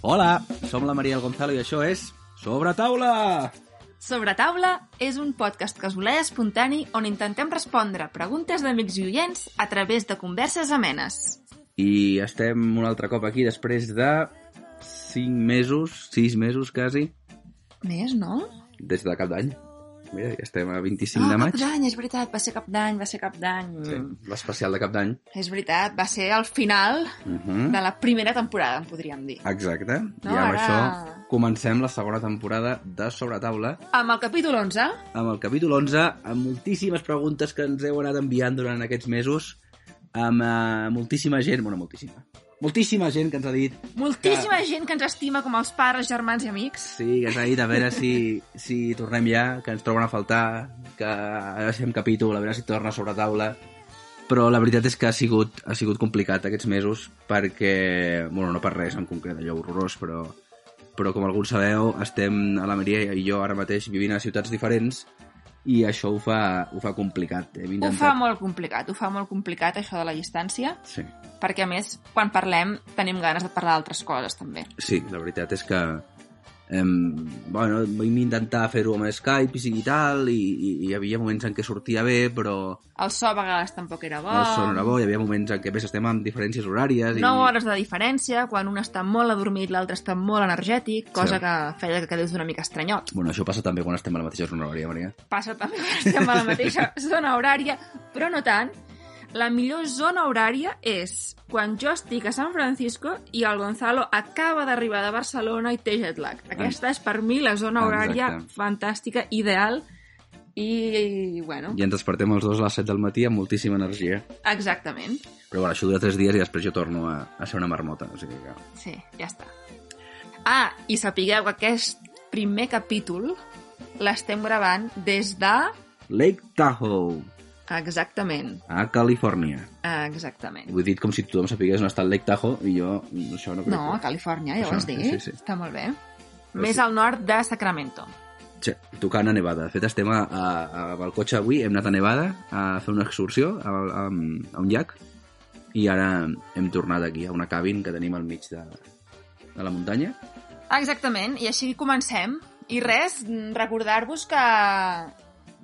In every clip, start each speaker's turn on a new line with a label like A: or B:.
A: Hola, som la Mariel Gonzalo i això és Sobre Taula!
B: Sobre taula és un podcast casolà i espontani on intentem respondre preguntes d'amics i oients a través de converses amenes.
A: I estem un altre cop aquí després de 5 mesos, 6 mesos quasi,
B: Més, no? Ah,
A: des de cap d'any. Mira, ja estem a 25 de
B: cap
A: maig.
B: d'any, és veritat, va ser cap d'any, va ser cap d'any.
A: Sí, L'especial de cap d'any.
B: És veritat, va ser el final
A: Uh
B: de la primera temporada, en podríem dir.
A: Exacte. I
B: No,
A: amb
B: ara-
A: això comencem la segona temporada de Sobre Taula
B: Amb el capítol 11,
A: amb el capítol 11, amb moltíssimes preguntes que ens heu anat enviant durant aquests mesos, amb eh, moltíssima gent, bueno, moltíssima, moltíssima gent que ens ha dit
B: moltíssima gent que ens estima com els pares, germans i amics.
A: Sí, que s'ha dit a veure si, si tornem ja, que ens troben a faltar, que ara fem capítol, a veure si torna sobre taula. Però la veritat és que ha sigut, ha sigut complicat aquests mesos perquè, bueno, no per res en concret, allò horrorós, però, però com alguns sabeu, estem a la Maria i jo ara mateix vivint a ciutats diferents i això ho fa, ho fa complicat. eh, Hem
B: Ho fa
A: intentat...
B: molt complicat, ho fa molt complicat això de la distància,
A: Sí.
B: perquè a més, quan parlem, tenim ganes de parlar d'altres coses també.
A: Sí, la veritat és que em, bueno, vam intentar fer-ho amb Skype i tal, i, i, i hi havia moments en què sortia bé, però
B: El so a vegades tampoc era bo.
A: no sonarà bo, hi havia moments en què a més estem amb diferències horàries i...
B: 9 hores de diferència, quan un està molt adormit, l'altre està molt energètic, cosa
A: Sí.
B: que feia que quedés una mica estranyot.
A: Bueno, això passa també quan estem a la mateixa zona horària, Maria.
B: Passa també que estem a la mateixa zona horària, però no tant. La millor zona horària és quan jo estic a San Francisco i el Gonzalo acaba d'arribar de Barcelona i té jet lag. Aquesta és per mi la zona horària
A: Ah. Exacte.
B: fantàstica, ideal i, bueno,
A: I ens despertem els dos a les 7 del matí amb moltíssima energia.
B: exactament.
A: Però bueno, això dura 3 dies i després jo torno a, a ser una marmota. O sigui que...
B: Sí, ja està. Ah, i sapigueu que aquest primer capítol l'estem gravant des de...
A: Lake Tahoe,
B: Exactament,
A: a Califòrnia.
B: exactament.
A: Ho he dit com si tothom sapigués on està el Lake Tahoe i jo mm, això no crec.
B: No, a Califòrnia, ja
A: Això,
B: ho has
A: sí,
B: dit.
A: sí, sí.
B: Està molt bé.
A: Però
B: Més
A: sí.
B: al nord de Sacramento.
A: Sí, tocant a Nevada. De fet, estem a, a, a, amb el cotxe avui, hem anat a Nevada a fer una excursió a, a, a un llac i ara hem tornat aquí a una cabin que tenim al mig de, de la muntanya.
B: Ah, Exactament, i així comencem. I res, mm, recordar-vos que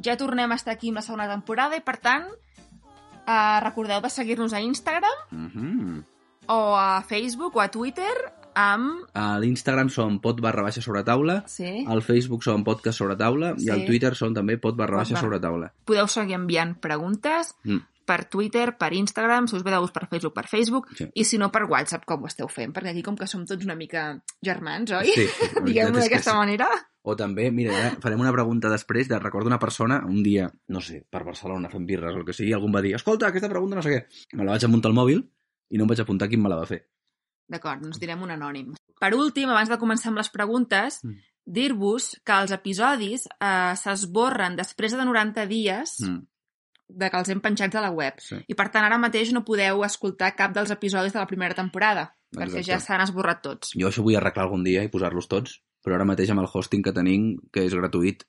B: ja tornem a estar aquí amb la segona temporada i, per tant, eh, recordeu de seguir-nos a Instagram
A: Mhm.
B: o a Facebook o a Twitter amb...
A: A l'Instagram som pot barra baixa sobre taula,
B: Sí.
A: al Facebook som podcast sobre taula sí. i
B: Sí.
A: al Twitter som també pot barra baixa
B: barra.
A: sobre taula.
B: podeu seguir enviant preguntes
A: Mm.
B: per Twitter, per Instagram, si us ve de gust per Facebook, per Facebook,
A: Sí.
B: i si no per WhatsApp, com ho esteu fent, perquè aquí com que som tots una mica germans, oi?
A: Sí, la
B: Diguem-ho
A: veritat és que
B: d'aquesta
A: sí.
B: manera.
A: O també, mira, ja farem una pregunta després de recordo una persona, un dia, no sé, per Barcelona fent birres o el que sigui, algú em va dir, escolta, aquesta pregunta no sé què. Me la vaig apuntar al mòbil i no em vaig apuntar quin me la va fer.
B: D'acord, doncs direm un anònim. Per últim, abans de començar amb les preguntes,
A: Mm.
B: dir-vos que els episodis eh, s'esborren després de 90 dies
A: Mm,
B: de que els hem penjats a la web.
A: sí.
B: I per tant, ara mateix no podeu escoltar cap dels episodis de la primera temporada, perquè
A: Exacte.
B: ja s'han esborrat tots.
A: Jo això vull arreglar algun dia i posar-los tots, però ara mateix amb el hosting que tenim, que és gratuït,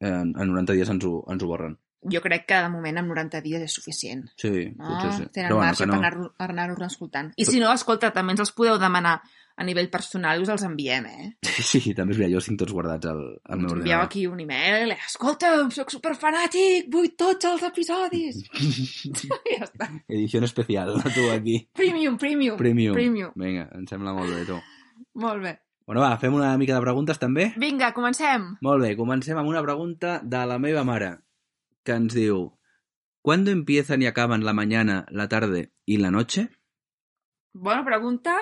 A: eh, en, en 90 dies ens ho, ens ho borren.
B: Jo crec que, de moment, amb 90 dies és suficient.
A: Sí,
B: No,
A: potser sí.
B: Ah, tenen marge
A: que
B: no. per anar-ho- per anar-ho anar escoltant. I si no, escolta, també ens els podeu demanar a nivell personal i us els enviem, eh?
A: Sí, també és veritat, jo els tinc tots guardats al, al
B: Ens
A: meu
B: envieu
A: ordinador.
B: aquí un e-mail, eh, escolta, sóc superfanàtic, vull tots els episodis. ja està.
A: Edició especial, no tu aquí.
B: Premium, premium.
A: Premium.
B: Premium.
A: Vinga, em sembla molt bé, tu.
B: Molt bé.
A: Bueno, va, fem una mica de preguntes també.
B: Vinga, comencem.
A: Molt bé, comencem amb una pregunta de la meva mare, que ens diu ¿Cuándo empiezan y acaban la mañana, la tarde y la noche?
B: Bona pregunta.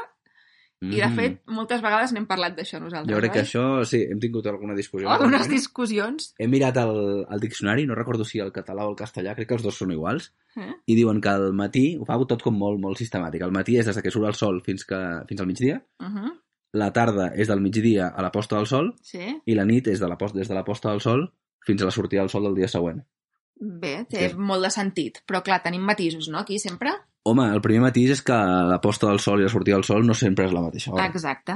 B: I, de
A: Mm.
B: fet, moltes vegades n'hem parlat d'això nosaltres,
A: Jo crec que
B: oi?
A: això, sí, hem tingut alguna discussió.
B: O algunes
A: Alguna-
B: discussions.
A: He mirat el, el diccionari, no recordo si el català o el castellà, crec que els dos són iguals,
B: Eh?
A: i diuen que el matí, ho fa tot com molt, molt sistemàtic, el matí és des que surt el sol fins, que, fins al migdia,
B: Uh -huh.
A: la tarda és del migdia a la posta del sol,
B: Sí.
A: i la nit és de la posta, des de la posta del sol fins a la sortida del sol del dia següent.
B: Bé, té
A: Sí.
B: molt de sentit. Però, clar, tenim matisos, no?, aquí sempre.
A: Home, el primer matís és que la posta del sol i la sortida del sol no sempre és la mateixa hora.
B: Exacte.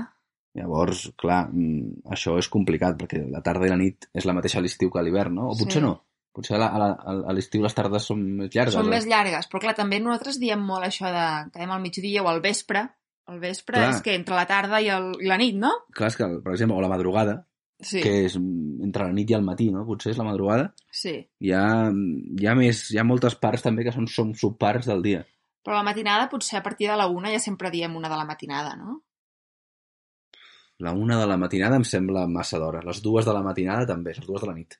A: Llavors, clar, mm, això és complicat, perquè la tarda i la nit és la mateixa a l'estiu que a l'hivern, no? O
B: Sí.
A: potser no. Potser a la- a la- a l'estiu les tardes són més llargues.
B: Són
A: o-
B: més llargues, però clar, també nosaltres diem molt això de quedem al migdia o al vespre, El vespre
A: Clar.
B: és que entre la tarda i, el, i la nit, no?
A: Clar, és que, per exemple, o la madrugada,
B: Sí,
A: que és mm, entre la nit i el matí, no? Potser és la madrugada.
B: sí.
A: Hi ha, hi ha, més, hi ha moltes parts també que són, són subparts del dia.
B: Però la matinada potser a partir de la una ja sempre diem una de la matinada, no?
A: La una de la matinada em sembla massa d'hora. Les dues de la matinada també, les dues de la nit.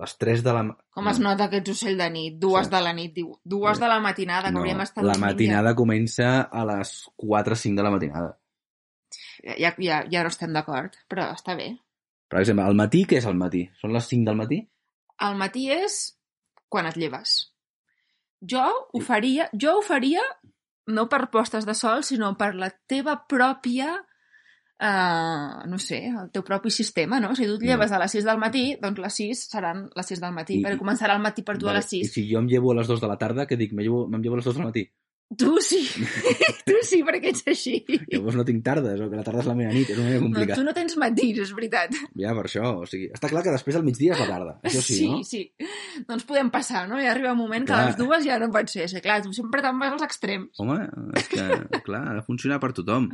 A: Les tres de la... ma-
B: Com es
A: No,
B: nota que ets ocell de nit? Dues
A: Mm. Sí.
B: de la nit, diu. Dues
A: Sí.
B: de la matinada, que hauríem estat
A: la
B: dormint
A: matinada comença a les 4 o 5 de la matinada.
B: Ja, ja, ja, ja no estem d'acord, però està bé.
A: Per exemple, al matí, què és el matí? Són les 5 del matí?
B: El matí és quan et lleves. Jo ho faria, jo ho faria no per postes de sol, sinó per la teva pròpia, eh, no sé, el teu propi sistema, no? Si tu et
A: Mm.
B: lleves a les 6 del matí, doncs les 6 seran les 6 del matí,
A: I-
B: I, perquè començarà el matí per tu a les
A: I
B: 6.
A: si jo em llevo a les 2 de la tarda, què dic? Me llevo, me'n llevo a les 2 del matí?
B: Tu sí, tu sí, perquè ets així.
A: Llavors no tinc tardes, o que la tarda és la meva nit, és una mica
B: No,
A: complicat.
B: tu no tens matins, és veritat.
A: Ja, per això, o sigui, està clar que després del migdia és la tarda, això sí,
B: sí,
A: no?
B: sí. Doncs podem passar, no? Ja arriba un moment que
A: Clar.
B: a les dues ja no pot ser. Sí, clar, tu sempre te'n vas als extrems.
A: Home, és que, clar, ha de funcionar per tothom.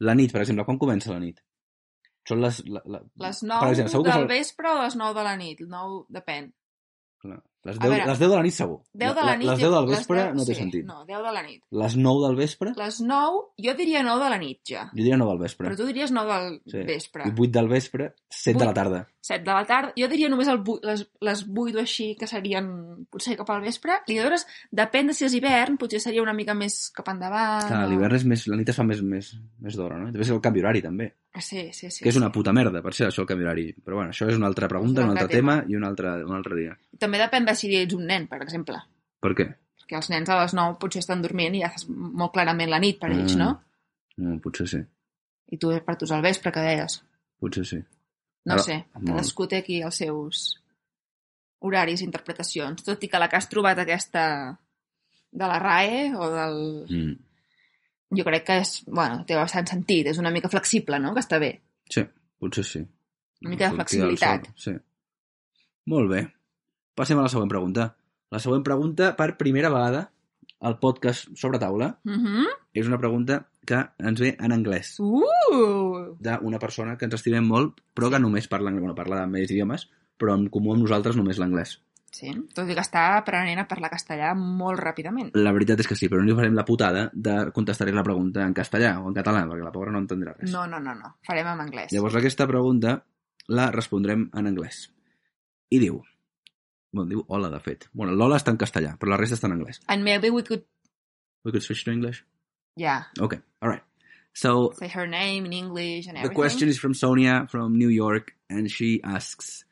A: La nit, per exemple, quan comença la nit? Són les... La, la...
B: Les
A: Per
B: 9
A: exemple, segur que
B: del
A: són-
B: vespre o les 9 de la nit? 9, depèn.
A: Clar, les,
B: A
A: 10,
B: veure,
A: les 10 de la nit segur.
B: 10 de la nit...
A: Les 10 del
B: les
A: vespre
B: 10
A: no té
B: sí,
A: sentit.
B: No, 10 de la nit.
A: Les 9 del vespre,
B: Les 9, jo diria 9 de la nit ja.
A: jo diria 9 del vespre.
B: Però tu diries 9 del
A: Sí.
B: vespre.
A: I 8 del vespre, 7 de la tarda.
B: 7 de la tarda. Jo diria només el 8, les, les 8 o així, que serien potser cap al vespre. I llavors, depèn de si és hivern, potser seria una mica més cap endavant.
A: Clar,
B: o-
A: l'hivern és més... La nit es fa més, més, més d'hora, no? I Després el canvi horari, també.
B: Ah, Sí, sí, sí.
A: que és
B: sí.
A: una puta merda, per ser això el canvi horari. Però bueno, això és una altra pregunta, un altre tema, i un altre, un altre dia.
B: També depèn de si ets un nen, per exemple.
A: Per què?
B: Perquè els nens a les 9 potser estan dormint i ja fas molt clarament la nit per ells,
A: Ah.
B: no?
A: No, potser sí.
B: I tu per tu és al vespre, que deies.
A: Potser sí.
B: No
A: Ah,
B: sé,
A: molt.
B: cadascú té aquí els seus horaris i interpretacions. Tot i que la que has trobat aquesta de la RAE o del...
A: Mm.
B: Jo crec que és, bueno, té bastant sentit, és una mica flexible, no?, que està bé.
A: Potser sí.
B: Una mica de
A: Sortir del
B: flexibilitat.
A: sol, Sí. Molt bé. Passem a la següent pregunta. La següent pregunta, per primera vegada, al podcast sobre taula,
B: Uh -huh.
A: és una pregunta que ens ve en anglès
B: uh!
A: d'una persona que ens estimem molt, però que només parla, anglès. bueno, parla de més idiomes, però en comú amb nosaltres només l'anglès.
B: Sí, tot i que està aprenent a parlar castellà molt ràpidament.
A: La veritat és que sí, però no li farem la putada de contestar la pregunta en castellà o en català, perquè la pobra no entendrà res.
B: No, no, no, no. Farem en anglès.
A: Llavors aquesta pregunta la respondrem en anglès. I diu... Bueno, diu hola, de fet. Bueno, l'hola està en castellà, però la resta està en anglès.
B: And maybe we could,
A: We could switch to English?
B: yeah,
A: Okay, all right. So
B: say her name in English and
A: the
B: everything.
A: question is from Sonia from New York, and she asks,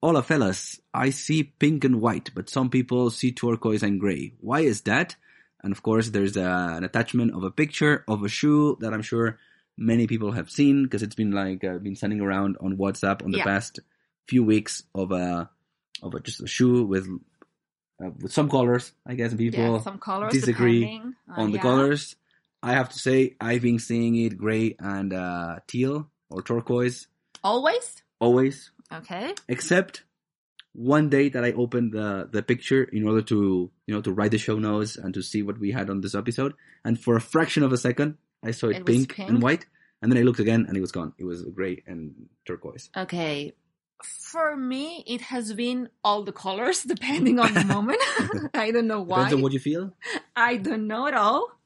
A: Hola, fellas. I see pink and white, but some people see turquoise and gray. Why is that? And of course, there's a, an attachment of a picture of a shoe that I'm sure many people have seen because it's been like uh, been sending around on WhatsApp on the
B: Yeah.
A: past few weeks of a of a, just a shoe with uh, with some colors, I guess. and People
B: yeah, some colors
A: disagree
B: depending
A: on the
B: yeah.
A: colors. I have to say, I've been seeing it gray and uh, teal or turquoise
B: Always?
A: always,
B: Okay.
A: except one day that I opened the, the picture in order to you know to write the show notes and to see what we had on this episode. And for a fraction of a second, I saw it,
B: It was
A: pink,
B: pink?
A: and white, and then I looked again and it was gone. It was gray and turquoise.
B: Okay. For me, it has been all the colors depending on the moment. I don't know why.
A: Depends on what you feel.
B: I don't know at all.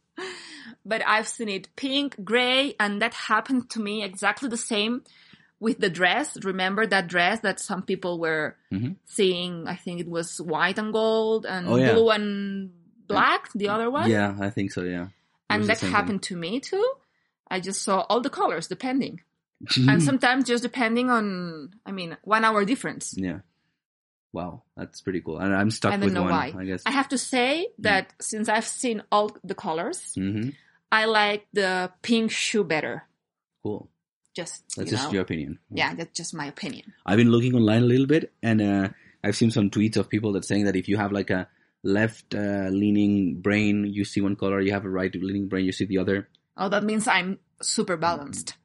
B: But I've seen it pink, gray, and that happened to me exactly the same with the dress. Remember that dress that some people were
A: Mhm.
B: seeing? I think it was white and gold and
A: Oh, yeah.
B: blue and black, the other one.
A: Yeah, I think so. Yeah, It was
B: and
A: the
B: that
A: same thing.
B: happened to me too. I just saw all the colors depending,
A: Mm.
B: and sometimes just depending on, I mean, one hour difference.
A: yeah. Wow, that's pretty cool. And I'm stuck
B: I don't
A: with
B: know
A: one.
B: why.
A: I guess.
B: I have to say that since I've seen all the colors,
A: hmm
B: I like the pink shoe better.
A: Cool.
B: Just
A: That's
B: you
A: just
B: know,
A: your opinion.
B: yeah, that's just my opinion.
A: I've been looking online a little bit, and uh, I've seen some tweets of people that saying that if you have like a left uh, leaning brain, you see one color. You have a right leaning brain, you see the other.
B: Oh, that means I'm super balanced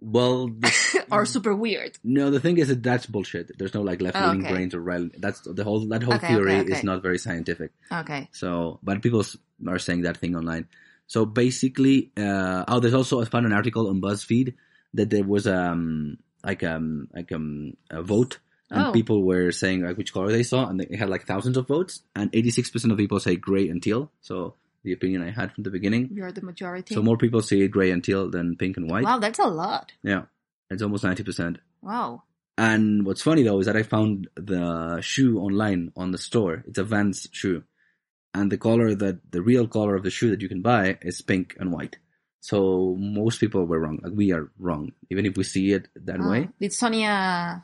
A: Well, the,
B: or super weird.
A: no, the thing is that that's bullshit. There's no like left leaning
B: Oh, Okay.
A: brains or right. That's the whole that whole
B: Okay, okay,
A: theory
B: okay.
A: is not very scientific.
B: Okay,
A: So, but people s- are saying that thing online. So basically, uh, oh, there's also I found an article on BuzzFeed that there was um like um like um a vote and
B: Oh.
A: people were saying like which color they saw and they had like thousands of votes and 86% of people say gray and teal. So the opinion I had from the beginning.
B: You're the majority.
A: So more people say gray and teal than pink and white.
B: Wow, that's a lot.
A: Yeah, it's almost 90%.
B: Wow.
A: And what's funny though is that I found the shoe online on the store. It's a Vans shoe, and the color that the real color of the shoe that you can buy is pink and white. So most people were wrong. Like we are wrong, even if we see it that
B: Ah,
A: way.
B: Did Sonia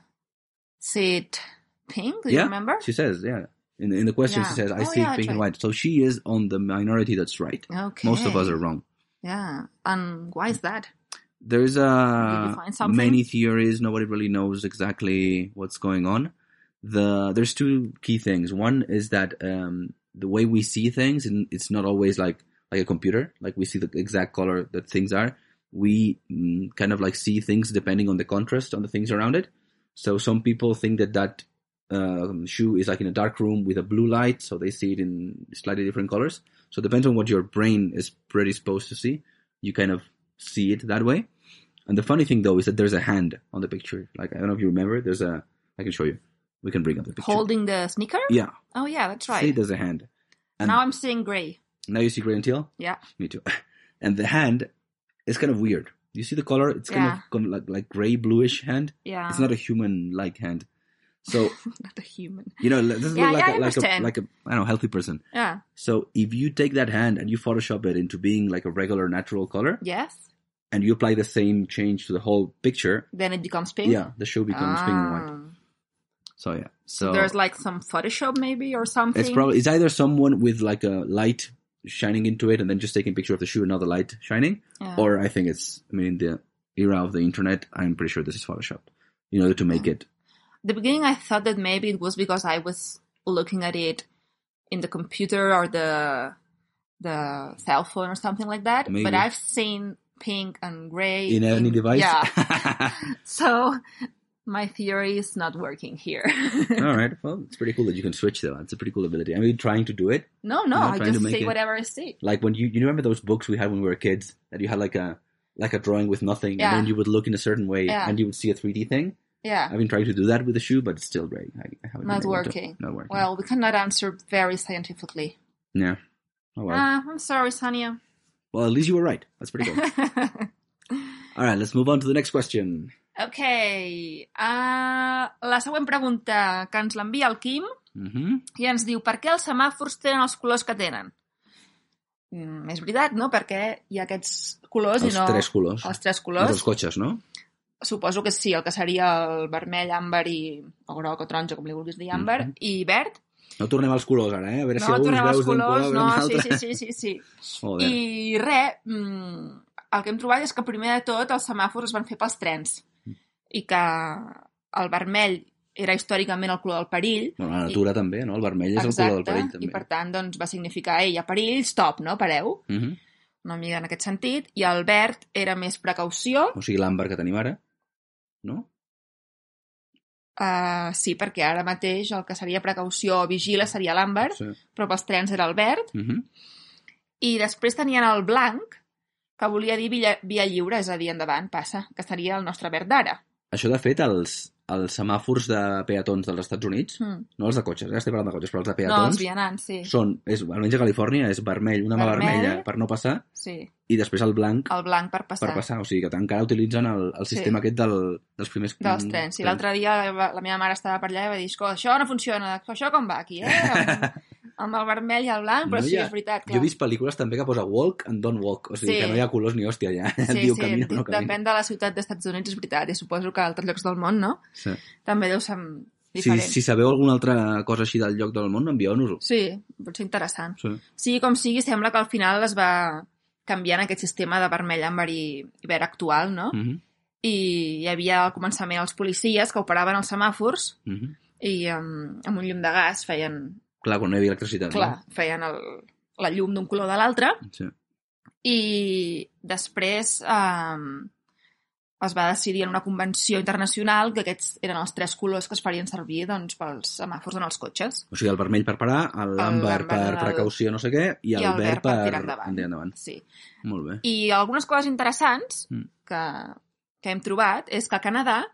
B: say it pink? Do
A: Yeah.
B: you remember?
A: She says, yeah. In in the question, she
B: Yeah.
A: says, "I
B: Oh,
A: see
B: yeah,
A: pink
B: that's
A: and
B: right.
A: white." So she is on the minority that's right.
B: Okay.
A: Most of us are wrong.
B: Yeah. And why is that?
A: There's
B: Did
A: uh,
B: you find something?
A: many theories. Nobody really knows exactly what's going on. The there's two key things. One is that um, the way we see things, and it's not always like like a computer. Like we see the exact color that things are. We mm, kind of like see things depending on the contrast on the things around it. So some people think that that um, shoe is like in a dark room with a blue light, so they see it in slightly different colors. So it depends on what your brain is predisposed to see. You kind of see it that way. And the funny thing though is that there's a hand on the picture. Like I don't know if you remember, there's a. I can show you. We can bring up the picture.
B: Holding the sneaker?
A: Yeah,
B: Oh, yeah, that's
A: see,
B: right.
A: there's a hand. and-
B: now I'm seeing gray.
A: Now you see gray and teal.
B: Yeah.
A: Me too. And the hand is kind of weird. You see the color? It's kind
B: Yeah.
A: of kind of like like gray bluish hand.
B: Yeah.
A: It's not a human-like hand. So
B: not a human.
A: you know, it doesn't
B: Yeah,
A: look like
B: yeah, I
A: a, like a
B: understand.
A: like a I don't know healthy person.
B: Yeah.
A: So if you take that hand and you Photoshop it into being like a regular natural color,
B: Yes.
A: and you apply the same change to the whole picture,
B: Then it becomes pink.
A: yeah, the shoe becomes pink and white.
B: Ah.
A: So yeah, so
B: So there's like some Photoshop maybe or something.
A: It's probably it's either someone with like a light shining into it and then just taking a picture of the shoe, another light shining,
B: Yeah.
A: or I think it's I mean in the era of the internet, I'm pretty sure this is Photoshop in order to make it.
B: the beginning I thought that maybe it was because I was looking at it in the computer or the the cell phone or something like that.
A: Maybe.
B: But I've seen pink and gray
A: In any device?
B: Yeah. So my theory is not working here.
A: All right. Well, it's pretty cool that you can switch though. It's a pretty cool ability. I mean, trying to do it
B: no, no,
A: not
B: I
A: trying to
B: just
A: make
B: see
A: it-
B: whatever I see.
A: like when you you remember those books we had when we were kids that you had like a like a drawing with nothing
B: Yeah.
A: and then you would look in a certain way
B: Yeah.
A: and you would see a 3D thing.
B: Yeah.
A: I've been trying to do that with the shoe, but it's still great. I, I haven't been able
B: Not
A: to-
B: working.
A: Not working.
B: Well, we cannot answer very scientifically.
A: yeah. Oh, well.
B: Ah, I'm sorry, Sonia.
A: well, at least you were right. That's pretty cool. All right, let's move on to the next question.
B: ok. ah, la següent pregunta que ens l'envia el Quim
A: Mm-hmm.
B: i ens diu per què els semàfors tenen els colors que tenen? Mm, és veritat, no? Perquè hi ha aquests colors
A: Els
B: i no...
A: tres colors.
B: Els tres
A: Els
B: colors.
A: dels cotxes, no?
B: Suposo que sí, el que seria el vermell, àmbar i... o groc o taronja, com li vulguis dir, àmbar,
A: Mhm.
B: i verd.
A: No tornem als colors ara, eh? A veure si
B: No,
A: algú
B: tornem
A: ens
B: als
A: veus d'un
B: colors,
A: color
B: no,
A: d'un
B: sí,
A: altre.
B: sí, sí, sí, sí.
A: Joder.
B: I res, mm, el que hem trobat és que primer de tot els semàfors es van fer pels trens i que el vermell era històricament el color del perill
A: Bueno, la natura també, no? El vermell és el color del perill, també.
B: i per tant doncs, va significar ei, hi ha perill, stop, no? Pareu.
A: Mhm.
B: Una mica en aquest sentit. I el verd era més precaució,
A: O sigui, l'àmbar que tenim ara, no?
B: uh, sí, perquè ara mateix el que seria precaució o vigila seria l'àmbar,
A: Sí.
B: però pels trens era el verd.
A: Mhm.
B: I després tenien el blanc, que volia dir via, via lliure, és a dir, endavant, passa, que seria el nostre verd d'ara.
A: Això, de fet, els, els semàfors de peatons dels Estats Units,
B: Mm.
A: no els de cotxes, eh? estem parlant de cotxes, però els de
B: No,
A: peatons
B: els vianants, sí.
A: són, és, almenys a Califòrnia, és vermell, una mà
B: Vermell.
A: vermella per no passar,
B: sí.
A: i després el blanc
B: El blanc per passar.
A: per passar. O sigui, que encara utilitzen el, el
B: Sí.
A: sistema aquest del, dels primers...
B: Dels trens. Sí,
A: Mm, trens.
B: l'altre dia va- la meva mare estava per allà i va dir, "Escolta, això no funciona, això com va aquí, eh? Amb, amb el vermell i el blanc, però
A: No
B: no,
A: hi
B: sí,
A: ha-
B: és veritat, clar.
A: Jo he vist pel·lícules també que posa walk and don't walk, o sigui
B: Sí.
A: que no hi ha colors ni hòstia ja.
B: sí,
A: Diu
B: sí,
A: camina o no camina.
B: depèn de la ciutat dels Estats Units, és veritat, i suposo que a altres llocs del món, no?
A: Sí.
B: També deu ser
A: Si,
B: diferent.
A: si sabeu alguna altra cosa així del lloc del món, envieu-nos-ho.
B: Sí, potser interessant.
A: Sí.
B: Sigui com sigui, sembla que al final es va canviant aquest sistema de vermell, àmbar i, i verd actual, no? Mm.
A: Mhm,
B: I hi havia al començament els policies que operaven els semàfors
A: mhm.
B: i amb, amb un llum de gas feien
A: Clar, quan no hi havia electricitat.
B: clar, feien el, la llum d'un color de l'altre
A: No? Sí.
B: i després eh, es va decidir en una convenció internacional que aquests eren els tres colors que es farien servir doncs, pels semàfors en els cotxes.
A: O sigui, el vermell per parar, l'àmbar
B: l'àmbar
A: per
B: del-
A: precaució no sé què, i, el, verd per tirar endavant.
B: Sí.
A: Molt bé.
B: I algunes coses interessants
A: Mm.
B: que, que hem trobat és que a Canadà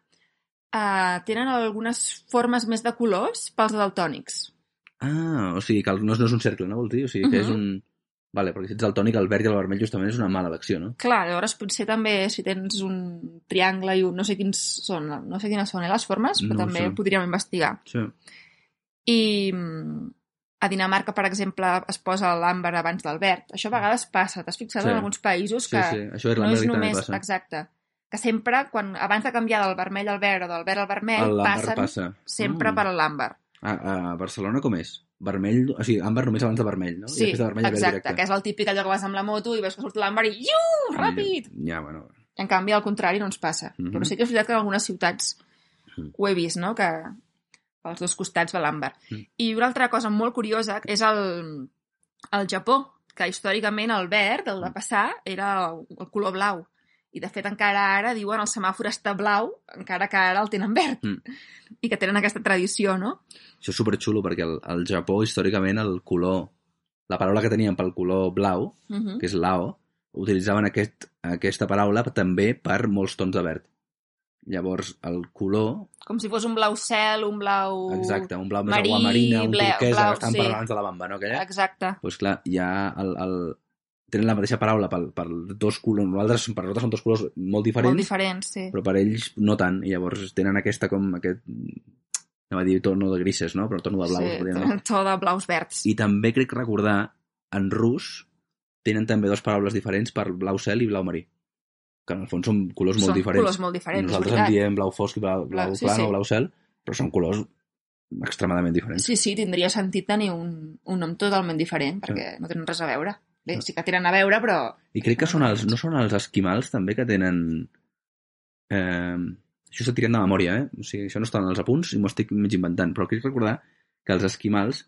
B: eh, tenen algunes formes més de colors pels daltònics.
A: Ah, o sigui, que el, no, és- no és un cercle, no vols dir? O sigui, que és
B: Mhm.
A: un... Vale, perquè si ets el tònic, el verd i el vermell justament és una mala elecció, no?
B: Clar, llavors potser també si tens un triangle i un... no sé quins són, no sé quines són eh, les formes, però
A: No ho
B: també
A: sé.
B: ho podríem investigar.
A: Sí.
B: I mm, a Dinamarca, per exemple, es posa l'àmbar abans del verd. Això a vegades passa. T'has fixat
A: Sí.
B: en alguns països
A: Sí,
B: que
A: sí, això és
B: no
A: l'àmbar
B: és
A: que també
B: només...
A: passa.
B: Exacte. Que sempre, quan, abans de canviar del vermell al verd o del verd al vermell,
A: El l'àmbar
B: passen
A: passa.
B: sempre
A: Mm.
B: per l'àmbar.
A: A, a Barcelona com és? Vermell, o sigui, àmbar només abans de vermell, no?
B: Sí,
A: I després de vermell, verd
B: exacte,
A: directe.
B: que és el típic allò que vas amb la moto i veus que surt l'àmbar i iu, ràpid!
A: Ja, bueno.
B: En canvi, al contrari, no ens passa.
A: Mhm.
B: Però sí que és veritat que en algunes ciutats
A: Mhm.
B: ho he vist, no?, que pels dos costats va l'àmbar.
A: Mhm.
B: I una altra cosa molt curiosa és el, el Japó, que històricament el verd, el de
A: Mm.
B: passar, era el color blau. I, de fet, encara ara diuen el semàfor està blau, encara que ara el tenen verd.
A: Mhm.
B: I que tenen aquesta tradició, no?
A: Això és superxulo perquè el, al Japó, històricament, el color... La paraula que tenien pel color blau,
B: Mhm.
A: que és lao, utilitzaven aquest, aquesta paraula també per molts tons de verd. Llavors, el color...
B: Com si fos un blau cel, un blau...
A: Exacte, un blau més
B: marí,
A: agua marina, un
B: ble-
A: turquesa,
B: blau,
A: blau, estan
B: sí.
A: sí. parlant abans de la bamba, no? Aquella?
B: Exacte.
A: Doncs pues clar, ja el, el, tenen la mateixa paraula per, per dos colors... Nosaltres, per nosaltres són dos colors molt
B: Molt
A: diferents,
B: diferents, sí.
A: però per ells no tant, i llavors tenen aquesta com aquest... Anava a dir torno de grises, no? Però torno de blaus,
B: sí,
A: podríem dir.
B: tot de blaus verds.
A: I també crec recordar, en rus, tenen també dues paraules diferents per blau cel i blau marí. Que en el fons són colors molt
B: Són
A: diferents.
B: colors molt diferents, és
A: Nosaltres en
B: veritat.
A: diem blau fosc i blau, blau,
B: Blau- sí,
A: clar
B: sí.
A: o blau cel, però són colors extremadament diferents.
B: Sí, sí, tindria sentit tenir un, un nom totalment diferent, perquè no tenen res a veure. Bé, sí que tenen a veure, però...
A: I crec que són els, no són els esquimals també que tenen... Eh, això està tirant de memòria, eh? O sigui, això no està en els apunts i m'ho estic mig inventant, però crec recordar que els esquimals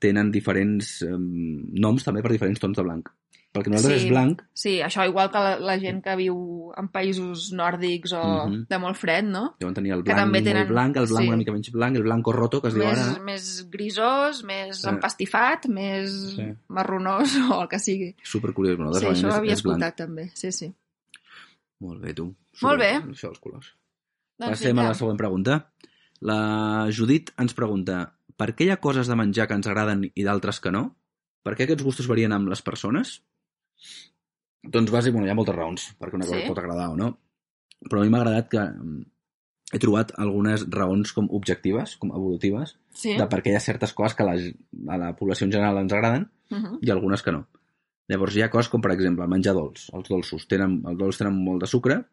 A: tenen diferents eh, noms també per diferents tons de blanc. Perquè nosaltres
B: Sí.
A: és blanc,
B: Sí, això igual que la, la gent que viu en països nòrdics o
A: Mhm.
B: de molt fred, no?
A: Deuen tenir el
B: Que
A: blanc
B: també tenen-
A: molt blanc, el blanc
B: sí.
A: una mica menys blanc, el blanco roto, que es diu
B: Més,
A: ara.
B: més grisós, més
A: Sí.
B: empastifat, més
A: Sí.
B: marronós o el que sigui.
A: Supercuriós, bueno,
B: Sí,
A: nosaltres
B: això ho
A: realment
B: havia
A: és, és blanc.
B: escoltat també, sí, sí.
A: Molt bé, tu.
B: Molt bé.
A: Això, els colors.
B: Doncs
A: Passem a la
B: vinga.
A: següent pregunta. La Judit ens pregunta per què hi ha coses de menjar que ens agraden i d'altres que no? Per què aquests gustos varien amb les persones? Doncs bàsic, bueno, hi ha moltes raons perquè una cosa
B: Sí.
A: pot agradar o no. Però a mi m'ha agradat que mm, he trobat algunes raons com objectives, com evolutives,
B: Sí?
A: de per què hi ha certes coses que a la, a la població en general ens agraden
B: Mhm.
A: i algunes que no. Llavors hi ha coses com, per exemple, el menjar dolç. Els dolços tenen, els dolç tenen molt de sucre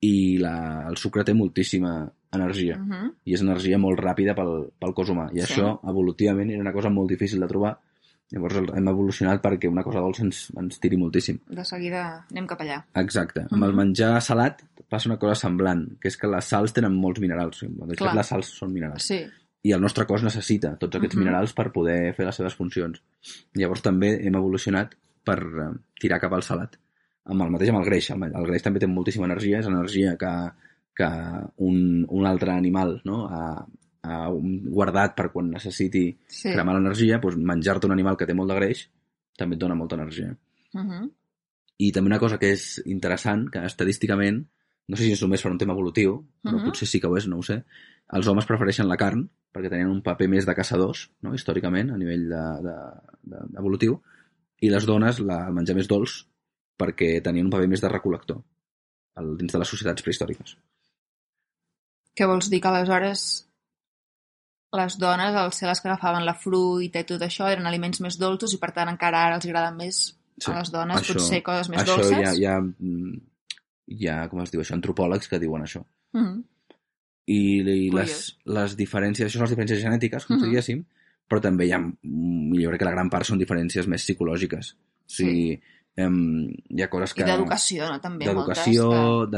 A: i la, el sucre té moltíssima energia
B: Mhm.
A: i és energia molt ràpida pel, pel cos humà. I
B: Sí.
A: sí. això, evolutivament, era una cosa molt difícil de trobar. Llavors el- hem evolucionat perquè una cosa dolça ens, ens tiri moltíssim.
B: De seguida anem cap allà.
A: Exacte. Amb el
B: Mhm.
A: menjar salat passa una cosa semblant, que és que les sals tenen molts minerals. De fet,
B: Clar.
A: les sals són minerals
B: Sí.
A: i el nostre cos necessita tots aquests
B: Mhm.
A: minerals per poder fer les seves funcions. Llavors també hem evolucionat per eh, tirar cap al salat. Amb el mateix amb el greix. El, el greix també té moltíssima energia, és energia que, que un, un altre animal no? ha, ha un- guardat per quan necessiti
B: sí.
A: cremar l'energia, doncs menjar-te un animal que té molt de greix també et dona molta energia.
B: Mhm.
A: I també una cosa que és interessant, que estadísticament, no sé si és només per un tema evolutiu, però
B: Mhm.
A: potser sí que ho és, no ho sé, els homes prefereixen la carn perquè tenien un paper més de caçadors, no? històricament, a nivell de, de, de, evolutiu, i les dones la, el menjar més dolç perquè tenien un paper més de recol·lector al, dins de les societats prehistòriques.
B: Què vols dir que aleshores les dones, al ser les que agafaven la fruita i tot això, eren aliments més dolços i per tant encara ara els agraden més
A: Sí,
B: a les dones
A: això-
B: potser coses Ah, més
A: això
B: dolces.
A: hi ha, hi ha, mm, hi ha, com es diu això, antropòlegs que diuen això.
B: Mhm.
A: i, i les,
B: Curiós.
A: les diferències, això són les diferències genètiques, com si
B: Mhm.
A: diguéssim, però també hi ha, mm, jo crec que la gran part són diferències més psicològiques. O sigui, em, hi ha coses que...
B: I d'educació, no? També
A: d'educació,
B: moltes.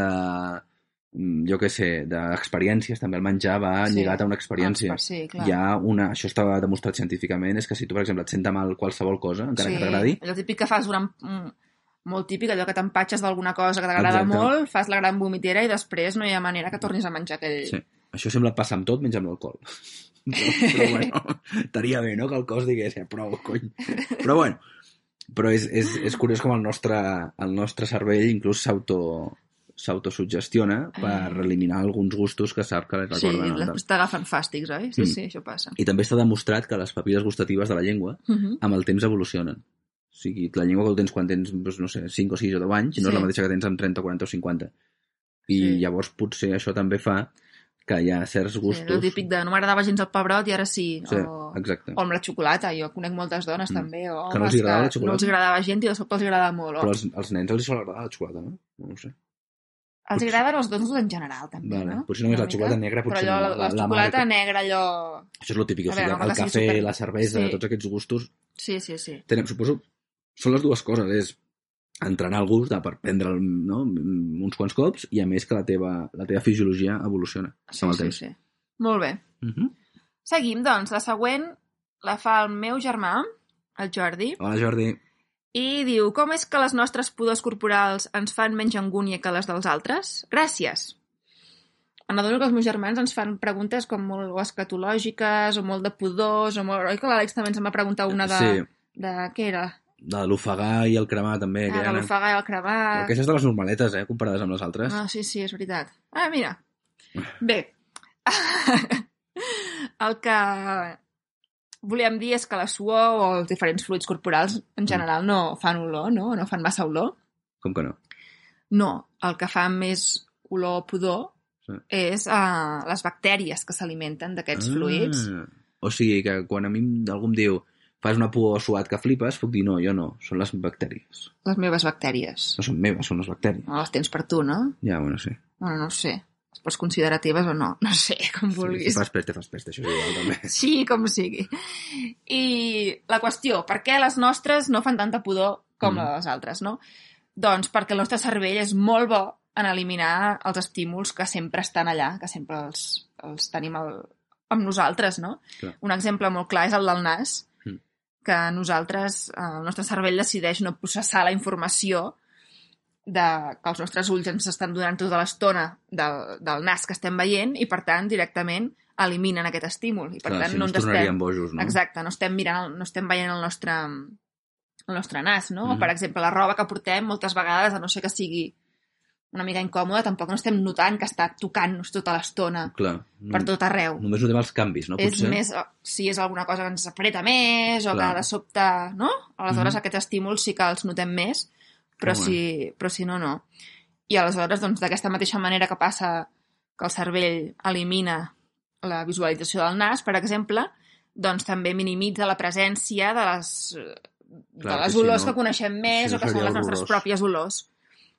A: de mm, jo què sé, d'experiències, també el menjar va
B: Sí,
A: lligat a una
B: que- doncs,
A: experiència.
B: per- Sí, clar.
A: Hi ha una... Això està demostrat científicament, és que si tu, per exemple, et senta mal qualsevol cosa, encara
B: sí,
A: que t'agradi,
B: Allò típic que fas durant... mm, molt típic, allò que t'empatxes d'alguna cosa que t'agrada
A: Exacte.
B: molt, fas la gran vomitera i després no hi ha manera que tornis a menjar aquell...
A: Sí. Això sembla passar amb tot menys amb l'alcohol. Però, però bueno, estaria bé, no?, que el cos digués, eh, prou, cony. Però bueno, però és, és, és curiós com el nostre, el nostre cervell inclús s'auto s'autosuggestiona per eliminar alguns gustos que sap que li
B: Sí,
A: recorden. al
B: després t'agafen fàstics, oi? Sí,
A: Mm.
B: sí, això passa.
A: I també està demostrat que les papilles gustatives de la llengua
B: Uh -huh.
A: amb el temps evolucionen. O sigui, la llengua que tu tens quan tens, doncs, no sé, 5 o 6 o 10 anys, no
B: Sí.
A: és la mateixa que tens amb 30, 40 o 50. I
B: Sí.
A: llavors potser això també fa que hi ha certs
B: Sí,
A: gustos...
B: el típic de no m'agradava gens el pebrot i ara sí.
A: Sí,
B: o...
A: exacte.
B: o amb la xocolata, jo conec moltes dones
A: Mm.
B: mm. també, o
A: Que no
B: homes
A: els agradava la
B: no els
A: xocolata?
B: agradava gent i de sobte els agrada molt, o
A: Però als, als nens els sol agradar la xocolata, no? No ho sé.
B: els agraden els donuts en general també,
A: Vale.
B: no?
A: Potser només
B: Una
A: la xocolata
B: mica.
A: negra,
B: però
A: potser
B: allò,
A: no,
B: la, la, xocolata
A: marca.
B: negra, allò...
A: Això és el típic,
B: A
A: o sigui,
B: veure, no,
A: el
B: que sigui
A: cafè,
B: super-
A: la cervesa,
B: Sí.
A: tots aquests gustos,
B: Sí, sí, sí.
A: tenen, suposo, són les dues coses, és entrenar el gust de, per prendre'l no, uns quants cops i a més que la teva, la teva fisiologia evoluciona
B: sí,
A: amb el
B: sí, Mhm.
A: temps.
B: sí. Molt bé.
A: Uh -huh.
B: Seguim, doncs. La següent la fa el meu germà, el Jordi,
A: Hola Jordi,
B: i diu Com és que les nostres pudors corporals ens fan menys angúnia que les dels altres? Gràcies. Em adono que els meus germans ens fan preguntes com molt o escatològiques, o molt de pudors, o molt... Oi que l'Àlex també ens en va preguntar una de...
A: sí,
B: de... Què era?
A: de l'ofegar i el cremar també. que
B: Ah,
A: ja
B: de
A: n'han-
B: l'ofegar i el
A: Però
B: cremat...
A: Aquestes de les normaletes, eh, comparades amb les altres.
B: Ah, sí, sí, és veritat. Ah, mira. Bé. el que volíem dir és que la suor o els diferents fluids corporals
A: Mm.
B: en general no fan olor, no? No fan massa olor.
A: Com que no?
B: No, el que fa més olor o pudor
A: Sí. Ah.
B: és uh, les bactèries que s'alimenten d'aquests fluids.
A: O sigui que quan a mi algú em diu fas una por o suat que flipes, puc dir no, jo no, són les bactèries.
B: Les meves bactèries.
A: No són meves, són les bactèries.
B: No les tens per tu, no?
A: Ja, bueno, sí.
B: Bueno, no ho sé. Les pots considerar teves o no? No sé, com
A: Sí,
B: vulguis.
A: fas peste, fas peste, això és igual també.
B: Sí, com sigui. I la qüestió, per què les nostres no fan tanta pudor com
A: Mm.
B: mm. la de les altres, no? Doncs perquè el nostre cervell és molt bo en eliminar els estímuls que sempre estan allà, que sempre els, els tenim el, amb nosaltres, no?
A: Clar.
B: Un exemple molt clar és el del nas,
A: Mm.
B: que nosaltres, eh, el nostre cervell decideix no processar la informació de, que els nostres ulls ens estan donant tota l'estona del, del nas que estem veient i, per tant, directament eliminen aquest estímul. I, per
A: Clar,
B: tant,
A: si no
B: no
A: ens
B: ens
A: tornaríem
B: estem...
A: bojos, no?
B: Exacte, no estem, mirant, el- no estem veient el nostre, el nostre nas, no?
A: Mhm.
B: Per exemple, la roba que portem moltes vegades, a no ser que sigui una mica incòmoda, tampoc no estem notant que està tocant-nos tota l'estona
A: Clar.
B: per tot arreu.
A: Només notem els canvis, no?
B: és més, eh, si és alguna cosa que ens apreta més o
A: Clar.
B: que de sobte, no? Aleshores
A: Mhm.
B: aquests estímuls sí que els notem més, però,
A: Que
B: si, però si no, no. I aleshores, doncs, d'aquesta mateixa manera que passa que el cervell elimina la visualització del nas, per exemple, doncs també minimitza la presència de les,
A: Clar,
B: de
A: que
B: les
A: si
B: olors
A: no-
B: que coneixem més
A: no
B: o que són
A: seria
B: les nostres
A: horrorós.
B: pròpies olors.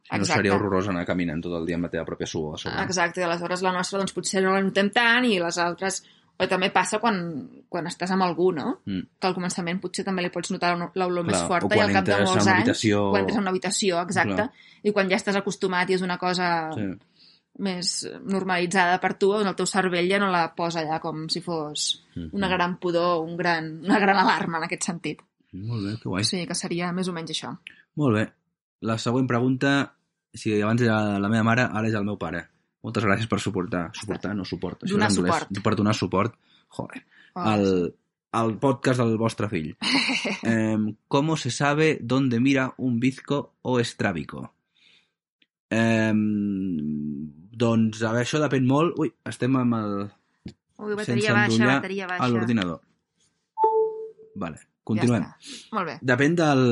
A: Si no seria horrorós anar caminant tot el dia amb la teva pròpia suor a sobre.
B: Exacte, i aleshores la nostra doncs, potser no la notem tant i les altres... O també passa quan, quan estàs amb algú, no?
A: Mm.
B: Que al començament potser també li pots notar l'olor
A: Clar,
B: més
A: o
B: forta i
A: quan
B: al cap de
A: entres a
B: molts
A: una
B: anys...
A: habitació-
B: Quan entres a una habitació, exacte. I quan ja estàs acostumat i és una cosa sí.
A: Sí.
B: més normalitzada per tu, doncs el teu cervell ja no la posa allà com si fos
A: Mhm.
B: una gran pudor, un gran, una gran alarma en aquest sentit.
A: Mm, Molt bé, que guai.
B: O sigui que seria més o menys això.
A: Molt bé. La següent pregunta, si abans era la meva mare, ara és el meu pare. Moltes gràcies per suportar. Suportar, no suport. Això
B: Donar
A: és anglès.
B: suport.
A: Per donar suport. Joder. Al, al podcast del vostre fill. Em, ¿Cómo se sabe dónde mira un bizco o estrábico? Em, doncs, a veure, això depèn molt... Ui, estem amb el...
B: Ui,
A: sense
B: bateria baixa,
A: endollar
B: bateria
A: A
B: baixa.
A: l'ordinador. Vale, continuem.
B: Ja està. Molt bé.
A: Depèn del,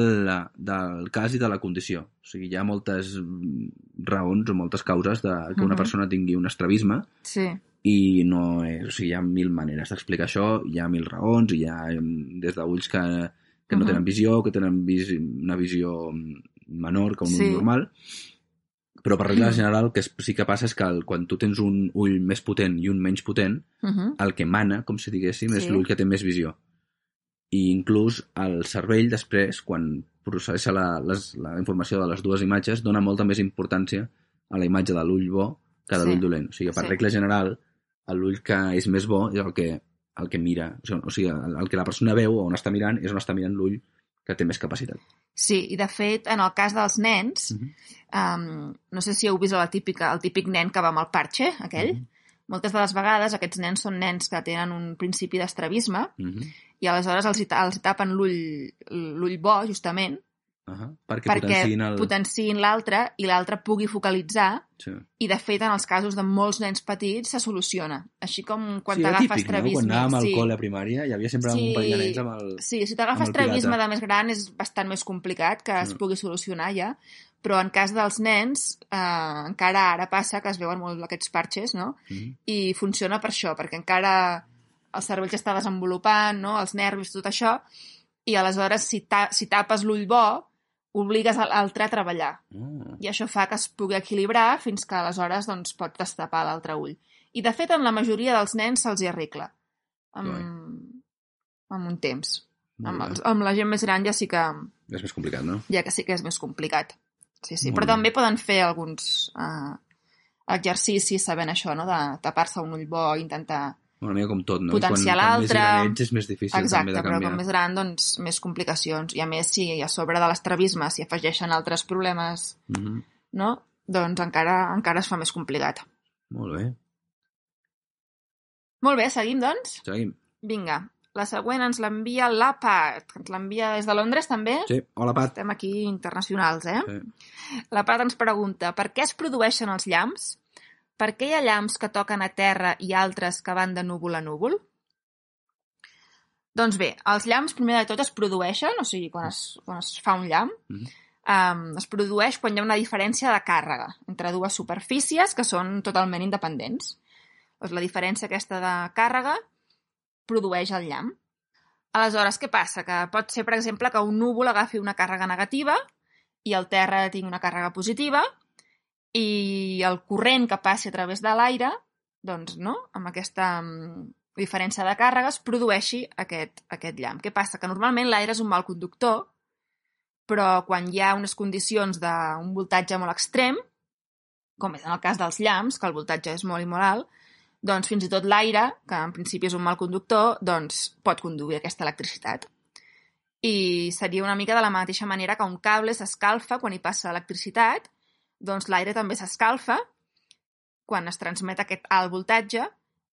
A: del cas i de la condició. O sigui, hi ha moltes mm, raons o moltes causes de que una
B: Mhm.
A: persona tingui un estrabisme
B: Sí.
A: i no és, o sigui, hi ha mil maneres d'explicar això, hi ha mil raons, hi ha mm, des d'ulls que, que no
B: Mhm.
A: tenen visió, que tenen vis, una visió mm, menor que un
B: Sí.
A: ull normal, però per regla
B: Mhm.
A: general el que es- sí que passa és que el, quan tu tens un ull més potent i un menys potent,
B: Uh -huh.
A: el que mana, com si diguéssim, és
B: Sí.
A: l'ull que té més visió. I inclús el cervell, després, quan processa la, les, la informació de les dues imatges, dona molta més importància a la imatge de l'ull bo que de
B: Sí.
A: l'ull dolent. O sigui, per
B: Sí.
A: regla general, l'ull que és més bo és el que, el que mira. O sigui, o sigui el, el que la persona veu o on està mirant és on està mirant l'ull que té més capacitat.
B: Sí, i de fet, en el cas dels nens,
A: Mhm.
B: um, no sé si heu vist la típica, el típic nen que va amb el parxe, aquell,
A: Mhm.
B: moltes de les vegades aquests nens són nens que tenen un principi d'estrabisme
A: Mhm.
B: i aleshores els, hi ta- els hi tapen l'ull l'ull bo, justament,
A: Ahà, Perquè,
B: perquè
A: potenciïn el...
B: potenciïn l'altre i l'altre pugui focalitzar
A: Sí.
B: i, de fet, en els casos de molts nens petits se soluciona. Així com quan
A: sí, era
B: t'agafes
A: típic, no? Quan
B: estrabisme...
A: anàvem al
B: sí.
A: col·le a primària hi havia sempre
B: Sí.
A: un parell de nens amb el...
B: Sí, si
A: amb el
B: t'agafes estrabisme
A: pirata.
B: de més gran és bastant més complicat que es
A: Mm.
B: pugui solucionar ja, però en cas dels nens eh, encara ara passa que es veuen molt aquests parxes, no?
A: Mhm.
B: I funciona per això, perquè encara el cervell s'està desenvolupant, no? Els nervis, tot això, i aleshores si, ta si tapes l'ull bo, obligues a l'altre a treballar.
A: Ah.
B: I això fa que es pugui equilibrar fins que aleshores doncs, pot destapar l'altre ull. I de fet, en la majoria dels nens se'ls hi arregla. Amb, amb un temps.
A: Molt
B: Amb,
A: bé.
B: els, amb la gent més gran ja sí que,
A: És més complicat, no?
B: ja que, sí que és més complicat. Sí, sí.
A: Molt
B: Però
A: bé.
B: també poden fer alguns eh, exercicis sabent això, no? de tapar-se un ull bo, intentar...
A: Una mica com tot, no?
B: Potenciar
A: quan, quan més
B: l'altre.
A: gran ets, és més difícil també
B: Exacte,
A: de eh.
B: però
A: canviar.
B: com més gran, doncs, més complicacions. I a més, si a sobre de l'estrabisme s'hi afegeixen altres problemes,
A: Mhm.
B: no? doncs encara, encara es fa més complicat.
A: Molt bé.
B: Molt bé, seguim, doncs?
A: Seguim.
B: Vinga, la següent ens l'envia l'APAT. Ens l'envia des de Londres, també?
A: Sí. Hola, Pat.
B: Estem aquí internacionals, eh? La Pat ens pregunta per què es produeixen els llamps? Per què hi ha llamps que toquen a terra i altres que van de núvol a núvol? Doncs bé, els llamps primer de tot es produeixen, o sigui, quan es, quan es fa un llamp,
A: Mhm.
B: um, es produeix quan hi ha una diferència de càrrega entre dues superfícies que són totalment independents. Doncs la diferència aquesta de càrrega produeix el llamp. Aleshores, què passa? Que pot ser, per exemple, que un núvol agafi una càrrega negativa i el terra tingui una càrrega positiva i el corrent que passi a través de l'aire, doncs, no?, amb aquesta mm, diferència de càrregues, produeixi aquest, aquest llamp. Què passa? Que normalment l'aire és un mal conductor, però quan hi ha unes condicions d'un voltatge molt extrem, com és en el cas dels llamps, que el voltatge és molt i molt alt, doncs fins i tot l'aire, que en principi és un mal conductor, doncs pot conduir aquesta electricitat. I seria una mica de la mateixa manera que un cable s'escalfa quan hi passa electricitat, doncs l'aire també s'escalfa quan es transmet aquest alt voltatge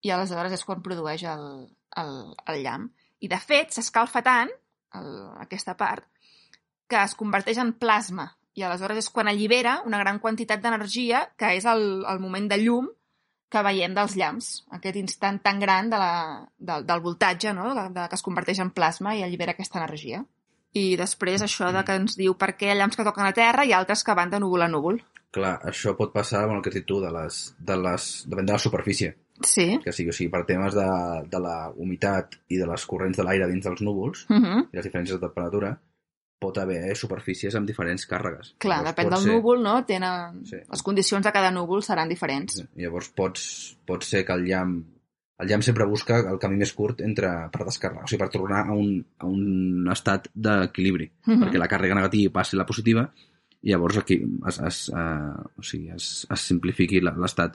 B: i aleshores és quan produeix el, el, el llamp. I de fet s'escalfa tant, el, aquesta part, que es converteix en plasma i aleshores és quan allibera una gran quantitat d'energia que és el, el moment de llum que veiem dels llamps, aquest instant tan gran de la, del, del voltatge, no? de, de, que es converteix en plasma i allibera aquesta energia. I després això de que ens diu per què hi ha llamps que toquen a terra i altres que van de núvol a núvol.
A: Clar, això pot passar amb el que has dit tu, de les, de les, depèn de la superfície.
B: Sí.
A: Que sigui, o sigui, per temes de, de la humitat i de les corrents de l'aire dins dels núvols
B: Uh -huh.
A: i les diferències de temperatura, pot haver superfícies amb diferents càrregues.
B: Clar,
A: Llavors,
B: depèn
A: Doncs pot
B: del
A: ser-
B: núvol, no? Tenen...
A: Sí.
B: Les condicions de cada núvol seran diferents.
A: Sí. Llavors pots, pot ser que el llamp el llamp sempre busca el camí més curt entre, per descarregar, o sigui, per tornar a un, a un estat d'equilibri,
B: Uh -huh.
A: perquè la càrrega negativa passi a la positiva i llavors aquí es, es, eh, o sigui, es, es simplifiqui la- l'estat.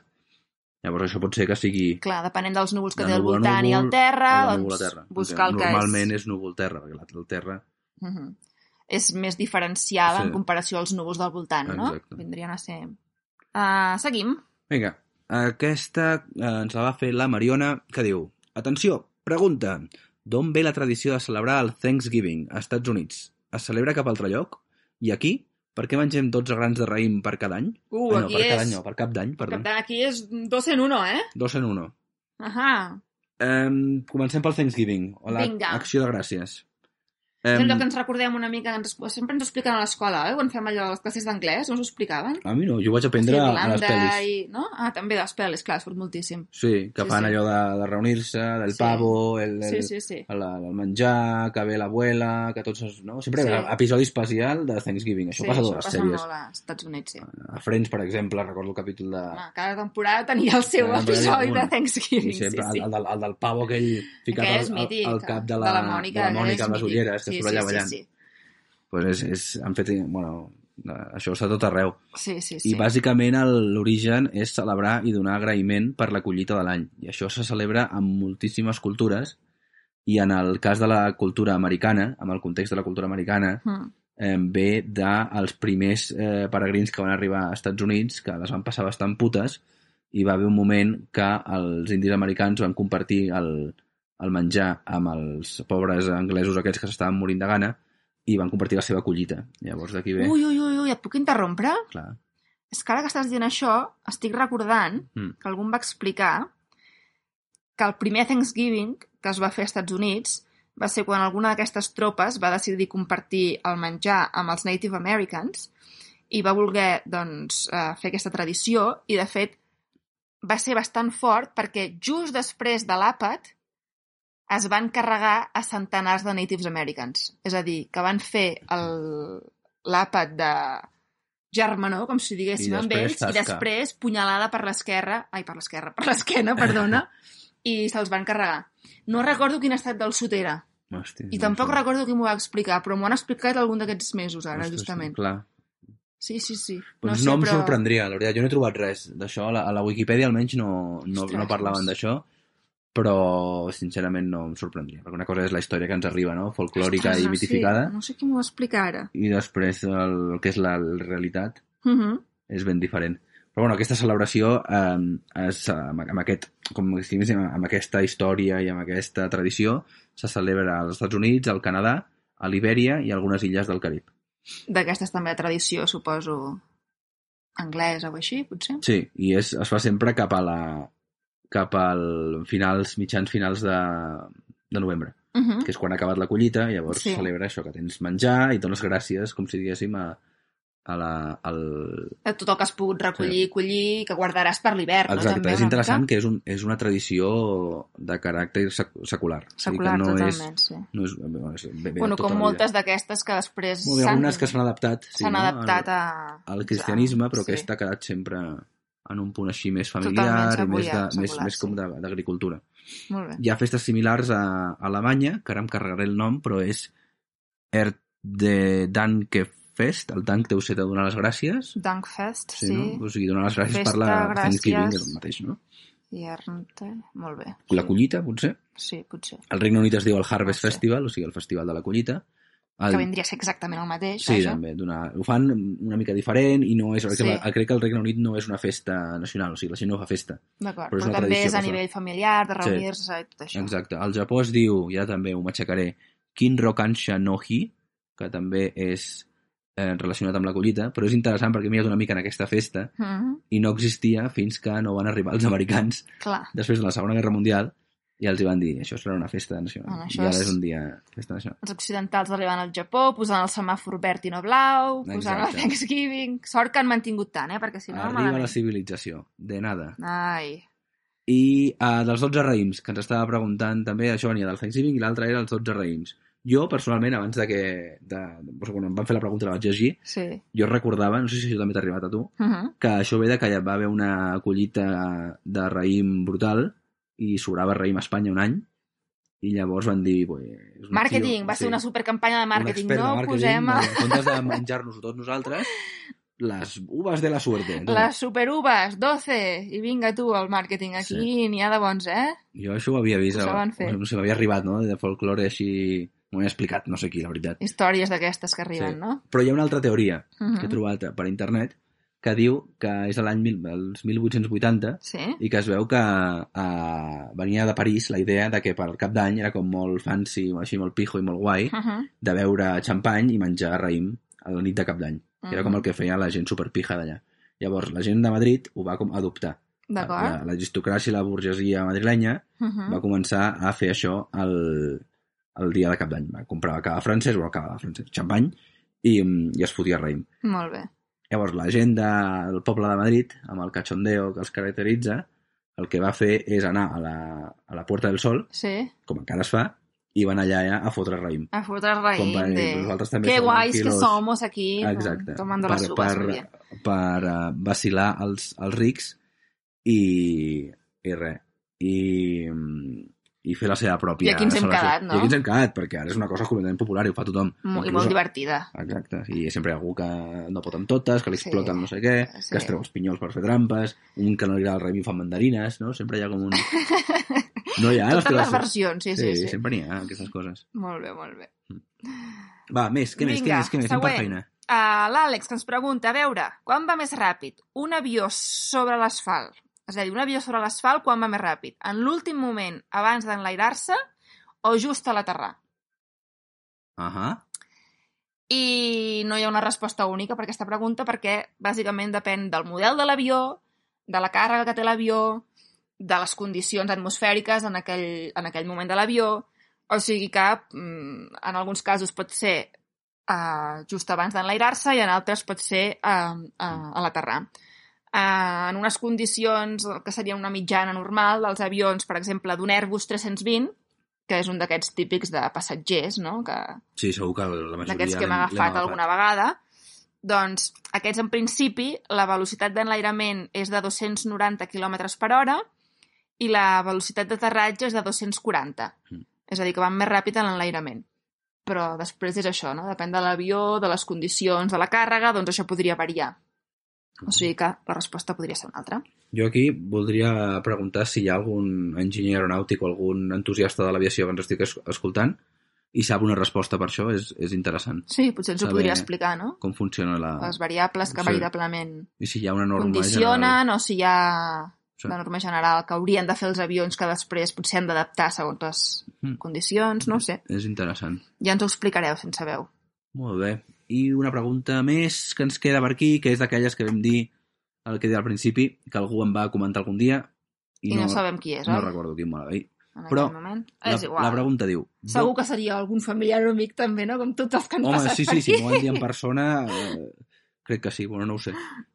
A: Llavors això pot ser que sigui
B: Clar, depenent dels núvols que
A: De
B: té al
A: núvol a
B: voltant i al
A: núvol,
B: terra,
A: o de
B: doncs,
A: núvol a terra.
B: buscar el que
A: Normalment
B: és...
A: és núvol-terra, perquè la- el terra...
B: Uh -huh. És més diferencial
A: Sí.
B: en comparació als núvols del voltant,
A: Exacte.
B: no? Vindrien a ser... Uh, seguim.
A: Vinga, aquesta eh, ens la va fer la Mariona, que diu... Atenció, pregunta. D'on ve la tradició de celebrar el Thanksgiving a Estats Units? Es celebra a cap altre lloc? I aquí? Per què mengem 12 grans de raïm per cada any?
B: Uh,
A: ah, no, per cada any no, per cap d'any, perdó.
B: tant, aquí és dos en uno, eh?
A: Dos en uno.
B: Ahà.
A: Um, comencem pel Thanksgiving, o la
B: Vinga.
A: acció de gràcies.
B: És
A: Em,
B: allò que ens recordem una mica, que ens, sempre ens ho expliquen a l'escola, eh? Quan fem allò, les classes d'anglès, no us ho explicaven?
A: A mi no, jo ho vaig aprendre
B: Sí,
A: a les
B: Irlanda
A: pel·lis.
B: I, no? Ah, també de les pel·lis, clar, surt moltíssim.
A: Sí, que
B: Sí,
A: fan
B: sí.
A: allò de, de reunir-se, del
B: Sí.
A: pavo, el, el,
B: Sí, sí, sí.
A: El, el menjar, que ve l'abuela, que tots... Els, no? Sempre
B: Sí.
A: sí. episodi especial de Thanksgiving. Això
B: sí,
A: sí, passa a
B: això
A: totes les
B: passa
A: sèries. Ah,
B: molt als Estats Units, sí.
A: A Friends, per exemple, recordo el capítol de...
B: Home, cada temporada tenia el seu
A: Cada temporada hi ha
B: episodi
A: un.
B: de
A: I
B: Thanksgiving, Ah, sí,
A: sempre
B: sí.
A: El, el, del- el, del pavo aquell ficat
B: Aquell
A: al,
B: és
A: al,
B: mític,
A: al cap de la,
B: de la Mònica,
A: de la
B: aquell és
A: Mònica amb les
B: mític.
A: ulleres, que
B: sí,
A: surt allà
B: sí,
A: ballant.
B: Sí,
A: Pues és, és, han fet... Bueno, eh, això està a tot arreu.
B: sí, sí, sí,
A: I
B: sí.
A: bàsicament el- l'origen és celebrar i donar agraïment per la collita de l'any. I això se celebra en moltíssimes cultures i en el cas de la cultura americana, amb el context de la cultura americana,
B: Mm.
A: eh, ve dels primers eh, peregrins que van arribar als Estats Units, que les van passar bastant putes, i va haver un moment que els indis americans van compartir el, el menjar amb els pobres anglesos aquests que s'estaven morint de gana i van compartir la seva collita. Llavors d'aquí ve...
B: Ui, ui, ui, ui, et puc interrompre?
A: Clar.
B: És que ara que estàs dient això, estic recordant
A: Mm.
B: que algú em va explicar que el primer Thanksgiving que es va fer als Estats Units va ser quan alguna d'aquestes tropes va decidir compartir el menjar amb els Native Americans i va voler doncs, eh, fer aquesta tradició i, de fet, va ser bastant fort perquè just després de l'àpat es van carregar a centenars de Natives Americans. És a dir, que van fer el- l'àpat de germanor, com si diguéssim
A: I
B: amb
A: després
B: ells, i
A: tasca.
B: després punyalada per l'esquerra, ai, per l'esquerra, per l'esquena, perdona, i se'ls van carregar. No recordo quin estat del sud era,
A: Hòstia,
B: i
A: no
B: tampoc
A: sé.
B: recordo qui m'ho va explicar, però m'ho han explicat algun d'aquests mesos ara,
A: Ostres,
B: justament.
A: Clar.
B: Sí, sí, sí.
A: Doncs no, no em però... sorprendria, la veritat. Jo no he trobat res d'això. A la, a la Wikipedia almenys no, no,
B: Ostres,
A: no parlaven
B: doncs.
A: d'això, però sincerament no em sorprendria. Perquè una cosa és la història que ens arriba, no? Folclòrica
B: Ostres, Ah,
A: i mitificada,
B: Sí, no sé qui m'ho va explicar ara.
A: i després el, el que és la realitat
B: Uh
A: és ben diferent. Però bueno, aquesta celebració eh, és, eh, amb, amb, aquest, com si diguéssim, amb aquesta història i amb aquesta tradició se celebra als Estats Units, al Canadà, a l'Ibèria i a algunes illes del Carib.
B: D'aquestes també de tradició, suposo, anglesa o així, potser.
A: Sí, i és, es fa sempre cap a la cap al finals, mitjans finals de, de novembre,
B: Uh -huh.
A: que és quan ha acabat la collita, i llavors
B: Sí.
A: sí. celebra això, que tens menjar i dones gràcies, com si diguéssim, a, a la, al...
B: De tot el que has pogut recollir, collir, que guardaràs per l'hivern, no?
A: Exacte,
B: També,
A: és
B: una
A: interessant que és, un, és una tradició de caràcter sec, secular.
B: mica. Secular,
A: Vull dir que no és,
B: totalment, sí.
A: no és, bueno, és bé, bé,
B: Bueno,
A: tota
B: com
A: la vida.
B: moltes d'aquestes que després
A: Molt bé,
B: s'han
A: algunes que s'han adaptat, sí,
B: s'han
A: no? Ah.
B: adaptat a...
A: al, al cristianisme, però
B: Sí.
A: sí. aquesta ha quedat sempre en un punt així més
B: Totalment
A: familiar i més, de,
B: secular,
A: més,
B: secular,
A: més com de- d'agricultura.
B: Molt bé.
A: Hi ha festes similars a Alemanya, que ara em carregaré el nom, però és Erd de Danke Fest, el Dank deu ser de donar les gràcies.
B: Dankfest, sí.
A: Sí, no? O sigui, donar les gràcies
B: Festa,
A: per la
B: gràcies.
A: Thanksgiving, és el mateix, no?
B: I Ernte, molt bé.
A: La collita, potser.
B: Sí, potser.
A: Al Regne Unit es diu el Harvest
B: No sé.
A: Festival, o sigui, el festival de la collita. El...
B: Que vindria a ser exactament el mateix,
A: Sí,
B: vaja.
A: també. Donar... Ho fan una mica diferent i no és...
B: Sí.
A: Sí. Crec que el Regne Unit no és una festa nacional, o sigui, la gent no fa festa.
B: D'acord,
A: Però és
B: però,
A: una
B: també
A: tradició
B: és
A: que
B: a
A: es fa.
B: nivell familiar, de
A: Sí.
B: reunir-se i tot això.
A: Exacte. Al Japó es diu, i ara també ho matxacaré, Kinrokansha no hi, que també és eh, relacionat amb la collita, però és interessant perquè mires una mica en aquesta festa
B: Mm
A: i no existia fins que no van arribar els americans
B: Clar,
A: després de la Segona Guerra Mundial i els hi van dir, això serà una festa nacional.
B: Bueno, això
A: I ara
B: és-
A: és un dia festa nacional.
B: els occidentals arribant al Japó, posant el semàfor verd i no blau, posant el
A: Exacte.
B: Thanksgiving... Sort que han mantingut tant, eh? Perquè si no,
A: Arriba
B: malament.
A: la civilització, de nada.
B: Ai,
A: I eh, dels 12 raïms, que ens estava preguntant també, això venia del Thanksgiving i l'altre era els 12 raïms. Jo, personalment, abans de que... De, de, quan em van fer la pregunta la vaig llegir,
B: sí.
A: jo recordava, no sé si això també t'ha arribat a tu,
B: Uh -huh.
A: que això ve de que hi va haver una collita de raïm brutal i sobrava raïm a Espanya un any i llavors van dir... Pues, un
B: Màrqueting,
A: tio-
B: va ser una supercampanya de
A: un
B: màrqueting.
A: expert de
B: No posem a...
A: En comptes de menjar-nos tots nosaltres, les uves de la suerte. No?
B: les superuves, 12, i vinga tu, el màrqueting aquí,
A: Sí.
B: n'hi ha de bons, eh?
A: Jo això ho havia vist,
B: Ho saben fer.
A: no sé, m'havia arribat, no?, de folklore així... M'ho he explicat, no sé qui, la veritat.
B: Històries d'aquestes que arriben,
A: Sí.
B: no?
A: Però hi ha una altra teoria
B: Uh
A: que he trobat per internet que diu que és de l'any mil- dels 1880
B: Sí?
A: i que es veu que eh, venia de París la idea de que per cap d'any era com molt fancy, així molt pijo i molt guai
B: Uh -huh.
A: de beure xampany i menjar raïm a la nit de cap d'any, que era com el que feia la gent superpija d'allà. Llavors, la gent de Madrid ho va com adoptar.
B: D'acord.
A: La- L'aristocràcia i la burgesia madrilenya
B: Uh -huh.
A: va començar a fer això el, el dia de cap d'any. Va comprar cava francès, o cava francès, xampany, i, i es fotia raïm.
B: Molt bé.
A: Llavors, la gent del poble de Madrid, amb el cachondeo que els caracteritza, el que va fer és anar a la, a la Puerta del Sol,
B: Sí,
A: com encara es fa, i van allà a fotre raïm.
B: a fotre el
A: Com
B: raïm
A: per dir,
B: de...
A: nosaltres també
B: Que
A: som
B: guais que
A: tranquilos.
B: somos aquí,
A: Exacte.
B: Exacte. tomando las uvas.
A: per,
B: muy bien.
A: per, per eh, vacilar els, els rics i, i res. I, mm, i fer la seva pròpia...
B: I aquí ens hem
A: celebració.
B: quedat, no?
A: I aquí ens hem quedat, perquè ara és una cosa completament popular i ho fa tothom.
B: Mo- I
A: Inclús-
B: molt divertida.
A: Exacte, i sempre hi ha algú que no pot amb totes, que li
B: Sí.
A: exploten no sé què,
B: Sí.
A: que es treu els pinyols per fer trampes, un que no li agrada el raïm i fa mandarines, no? Sempre hi ha com un... No hi ha
B: Totes les
A: teves-
B: versions, sí, Tota sí,
A: Sí,
B: sí.
A: sempre n'hi ha aquestes coses.
B: Molt bé, molt bé.
A: Va, més, què més, què
B: Vinga,
A: més, què més? Anem per
B: següent.
A: feina.
B: Uh, L'Àlex, que ens pregunta, a veure, quan va més ràpid? Un avió sobre l'asfalt. És a dir, un avió sobre l'asfalt, quan va més ràpid? En l'últim moment, abans d'enlairar-se o just a l'aterrar?
A: Ahà.
B: I no hi ha una resposta única per aquesta pregunta perquè bàsicament depèn del model de l'avió, de la càrrega que té l'avió, de les condicions atmosfèriques en aquell, en aquell moment de l'avió, o sigui que mm, en alguns casos pot ser uh, just abans d'enlairar-se i en altres pot ser uh, uh, a l'aterrar. Uh, en unes condicions que seria una mitjana normal dels avions, per exemple, d'un Airbus 320, que és un d'aquests típics de passatgers, no?, que,
A: Sí, segur que la majoria...
B: d'aquests que hem
A: l'hem- l'hem
B: agafat alguna vegada, doncs aquests, en principi, la velocitat d'enlairament és de 290 km per hora i la velocitat d'aterratge és de 240.
A: Mm.
B: És a dir, que van més ràpid en l'enlairament. Però després és això, no? Depèn de l'avió, de les condicions, de la càrrega, doncs això podria variar.
A: Mm.
B: O sigui que la resposta podria ser una altra.
A: Jo aquí voldria preguntar si hi ha algun enginyer aeronàutic o algun entusiasta de l'aviació que ens estic es- escoltant i sap una resposta per això, és, és interessant.
B: Sí, potser ens ho
A: Saber-
B: podria explicar, no?
A: Com funciona la...
B: Les variables que
A: Ah. Sí.
B: veritablement
A: I si hi ha una norma general.
B: condicionen o si hi ha
A: Sí.
B: la norma general que haurien de fer els avions que després potser han d'adaptar segons les
A: Mm.
B: condicions, no ho sé.
A: És interessant.
B: Ja ens ho explicareu sense veu.
A: Molt bé. I una pregunta més que ens queda per aquí, que és d'aquelles que vam dir el que he dit al principi, que algú em va comentar algun dia
B: I,
A: i,
B: no, sabem qui és,
A: no
B: oi?
A: recordo quin me la va dir.
B: en
A: però
B: aquell moment.
A: La,
B: és igual.
A: la pregunta diu...
B: Segur que seria algun familiar o amic també, no? Com tots els que han
A: Home,
B: passat
A: sí,
B: per
A: sí, si
B: aquí.
A: m'ho van dir en persona, eh, crec que sí, bueno, no ho sé.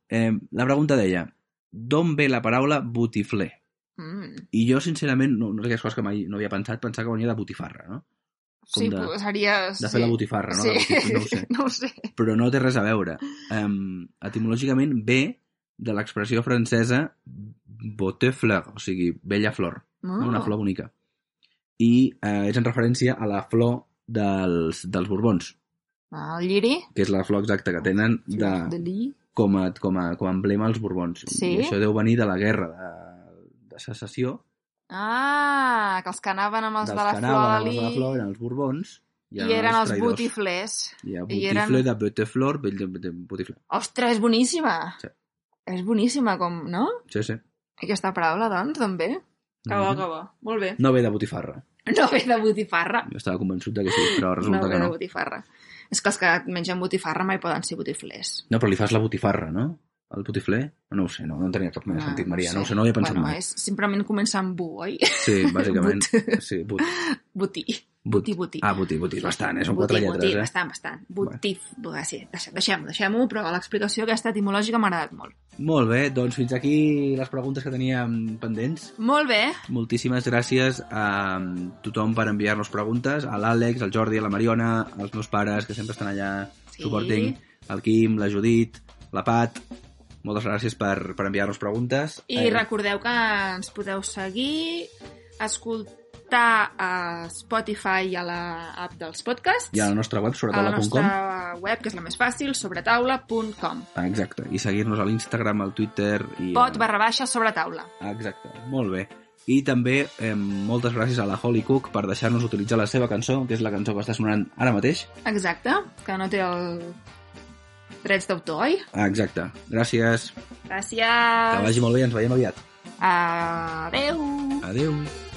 A: Eh, la pregunta deia, d'on ve la paraula botifler?
B: Mm.
A: I jo, sincerament, no, no és aquelles coses que mai no havia pensat, pensar que venia de botifarra, no?
B: Sí,
A: de-
B: pues, seria...
A: De
B: sí.
A: fer la botifarra, no?
B: Sí.
A: De botifler, no ho sé.
B: no ho sé.
A: Però no té res a veure. Um, etimològicament ve de l'expressió francesa botefleur, o sigui, bella flor,
B: No,
A: no? una flor bonica. I eh, és en referència a la flor dels, dels borbons,
B: Ah, el lliri?
A: que és la flor exacta que tenen de,
B: De lli?
A: com a, com a, com a emblema als Borbons.
B: Sí?
A: I això deu venir de la guerra de, de secessió,
B: Ah, que els que anaven amb els
A: dels
B: de la
A: que
B: flor
A: anaven
B: de
A: amb els de la
B: lli
A: flor, eren els Borbons,
B: i eren els
A: traïdors.
B: botiflers.
A: Hi ha
B: i
A: botifler,
B: eren-
A: de Beteflor, Bell de- de botifler.
B: Ostres, és boníssima!
A: Sí.
B: És boníssima, com, no?
A: Sí, sí.
B: Aquesta paraula, doncs, també. Que bo,
A: Mhm.
B: que bo. Molt bé.
A: No ve de botifarra.
B: No ve de botifarra.
A: Jo estava convençut de que sí, però resulta
B: no ve
A: que
B: de
A: no.
B: botifarra. És que els que mengen botifarra mai poden ser botiflers.
A: No, però li fas la botifarra, no? El botifler? No ho sé, no, no tenia cap mena de sentit, Maria. No ho sé, no ho havia pensat
B: Ah, bueno,
A: mai.
B: És, simplement comença amb bu, oi?
A: Sí, bàsicament. Sí, but,
B: Botí.
A: but.
B: Botí, botí.
A: Ah, botí, botí, bastant, eh? Són
B: Botí,
A: quatre
B: Botí,
A: lletres,
B: bastant, bastant. Botí, bueno. sí, deixem- deixem-ho, deixem-ho, però l'explicació aquesta etimològica m'ha agradat molt.
A: eh? Molt bé, doncs fins aquí les preguntes que teníem pendents.
B: Molt bé,
A: Moltíssimes gràcies a mm, tothom per enviar-nos preguntes, a l'Àlex, al Jordi, a la Mariona, als meus pares, que sempre estan allà
B: Sí.
A: suporting, al Quim, la Judit, la Pat... Moltes gràcies per, per enviar-nos preguntes. Eh,
B: I recordeu que ens podeu seguir, escoltar a Spotify i a l'app dels podcasts,
A: I a la nostra web,
B: a la
A: sobretaula.com.
B: nostra web, que és la més fàcil, sobretaula.com.
A: Ah, exacte. I seguir-nos a l'Instagram, al Twitter... I,
B: Pot barra baixa sobre taula.
A: Ah, Exacte, molt bé. I també eh, moltes gràcies a la Holly Cook per deixar-nos utilitzar la seva cançó, que és la cançó que està sonant ara mateix.
B: Exacte, que no té el drets d'autor, oi?
A: Ah, exacte. Gràcies.
B: Gràcies.
A: Que vagi molt bé. Ens veiem aviat.
B: Adeu.
A: Adeu.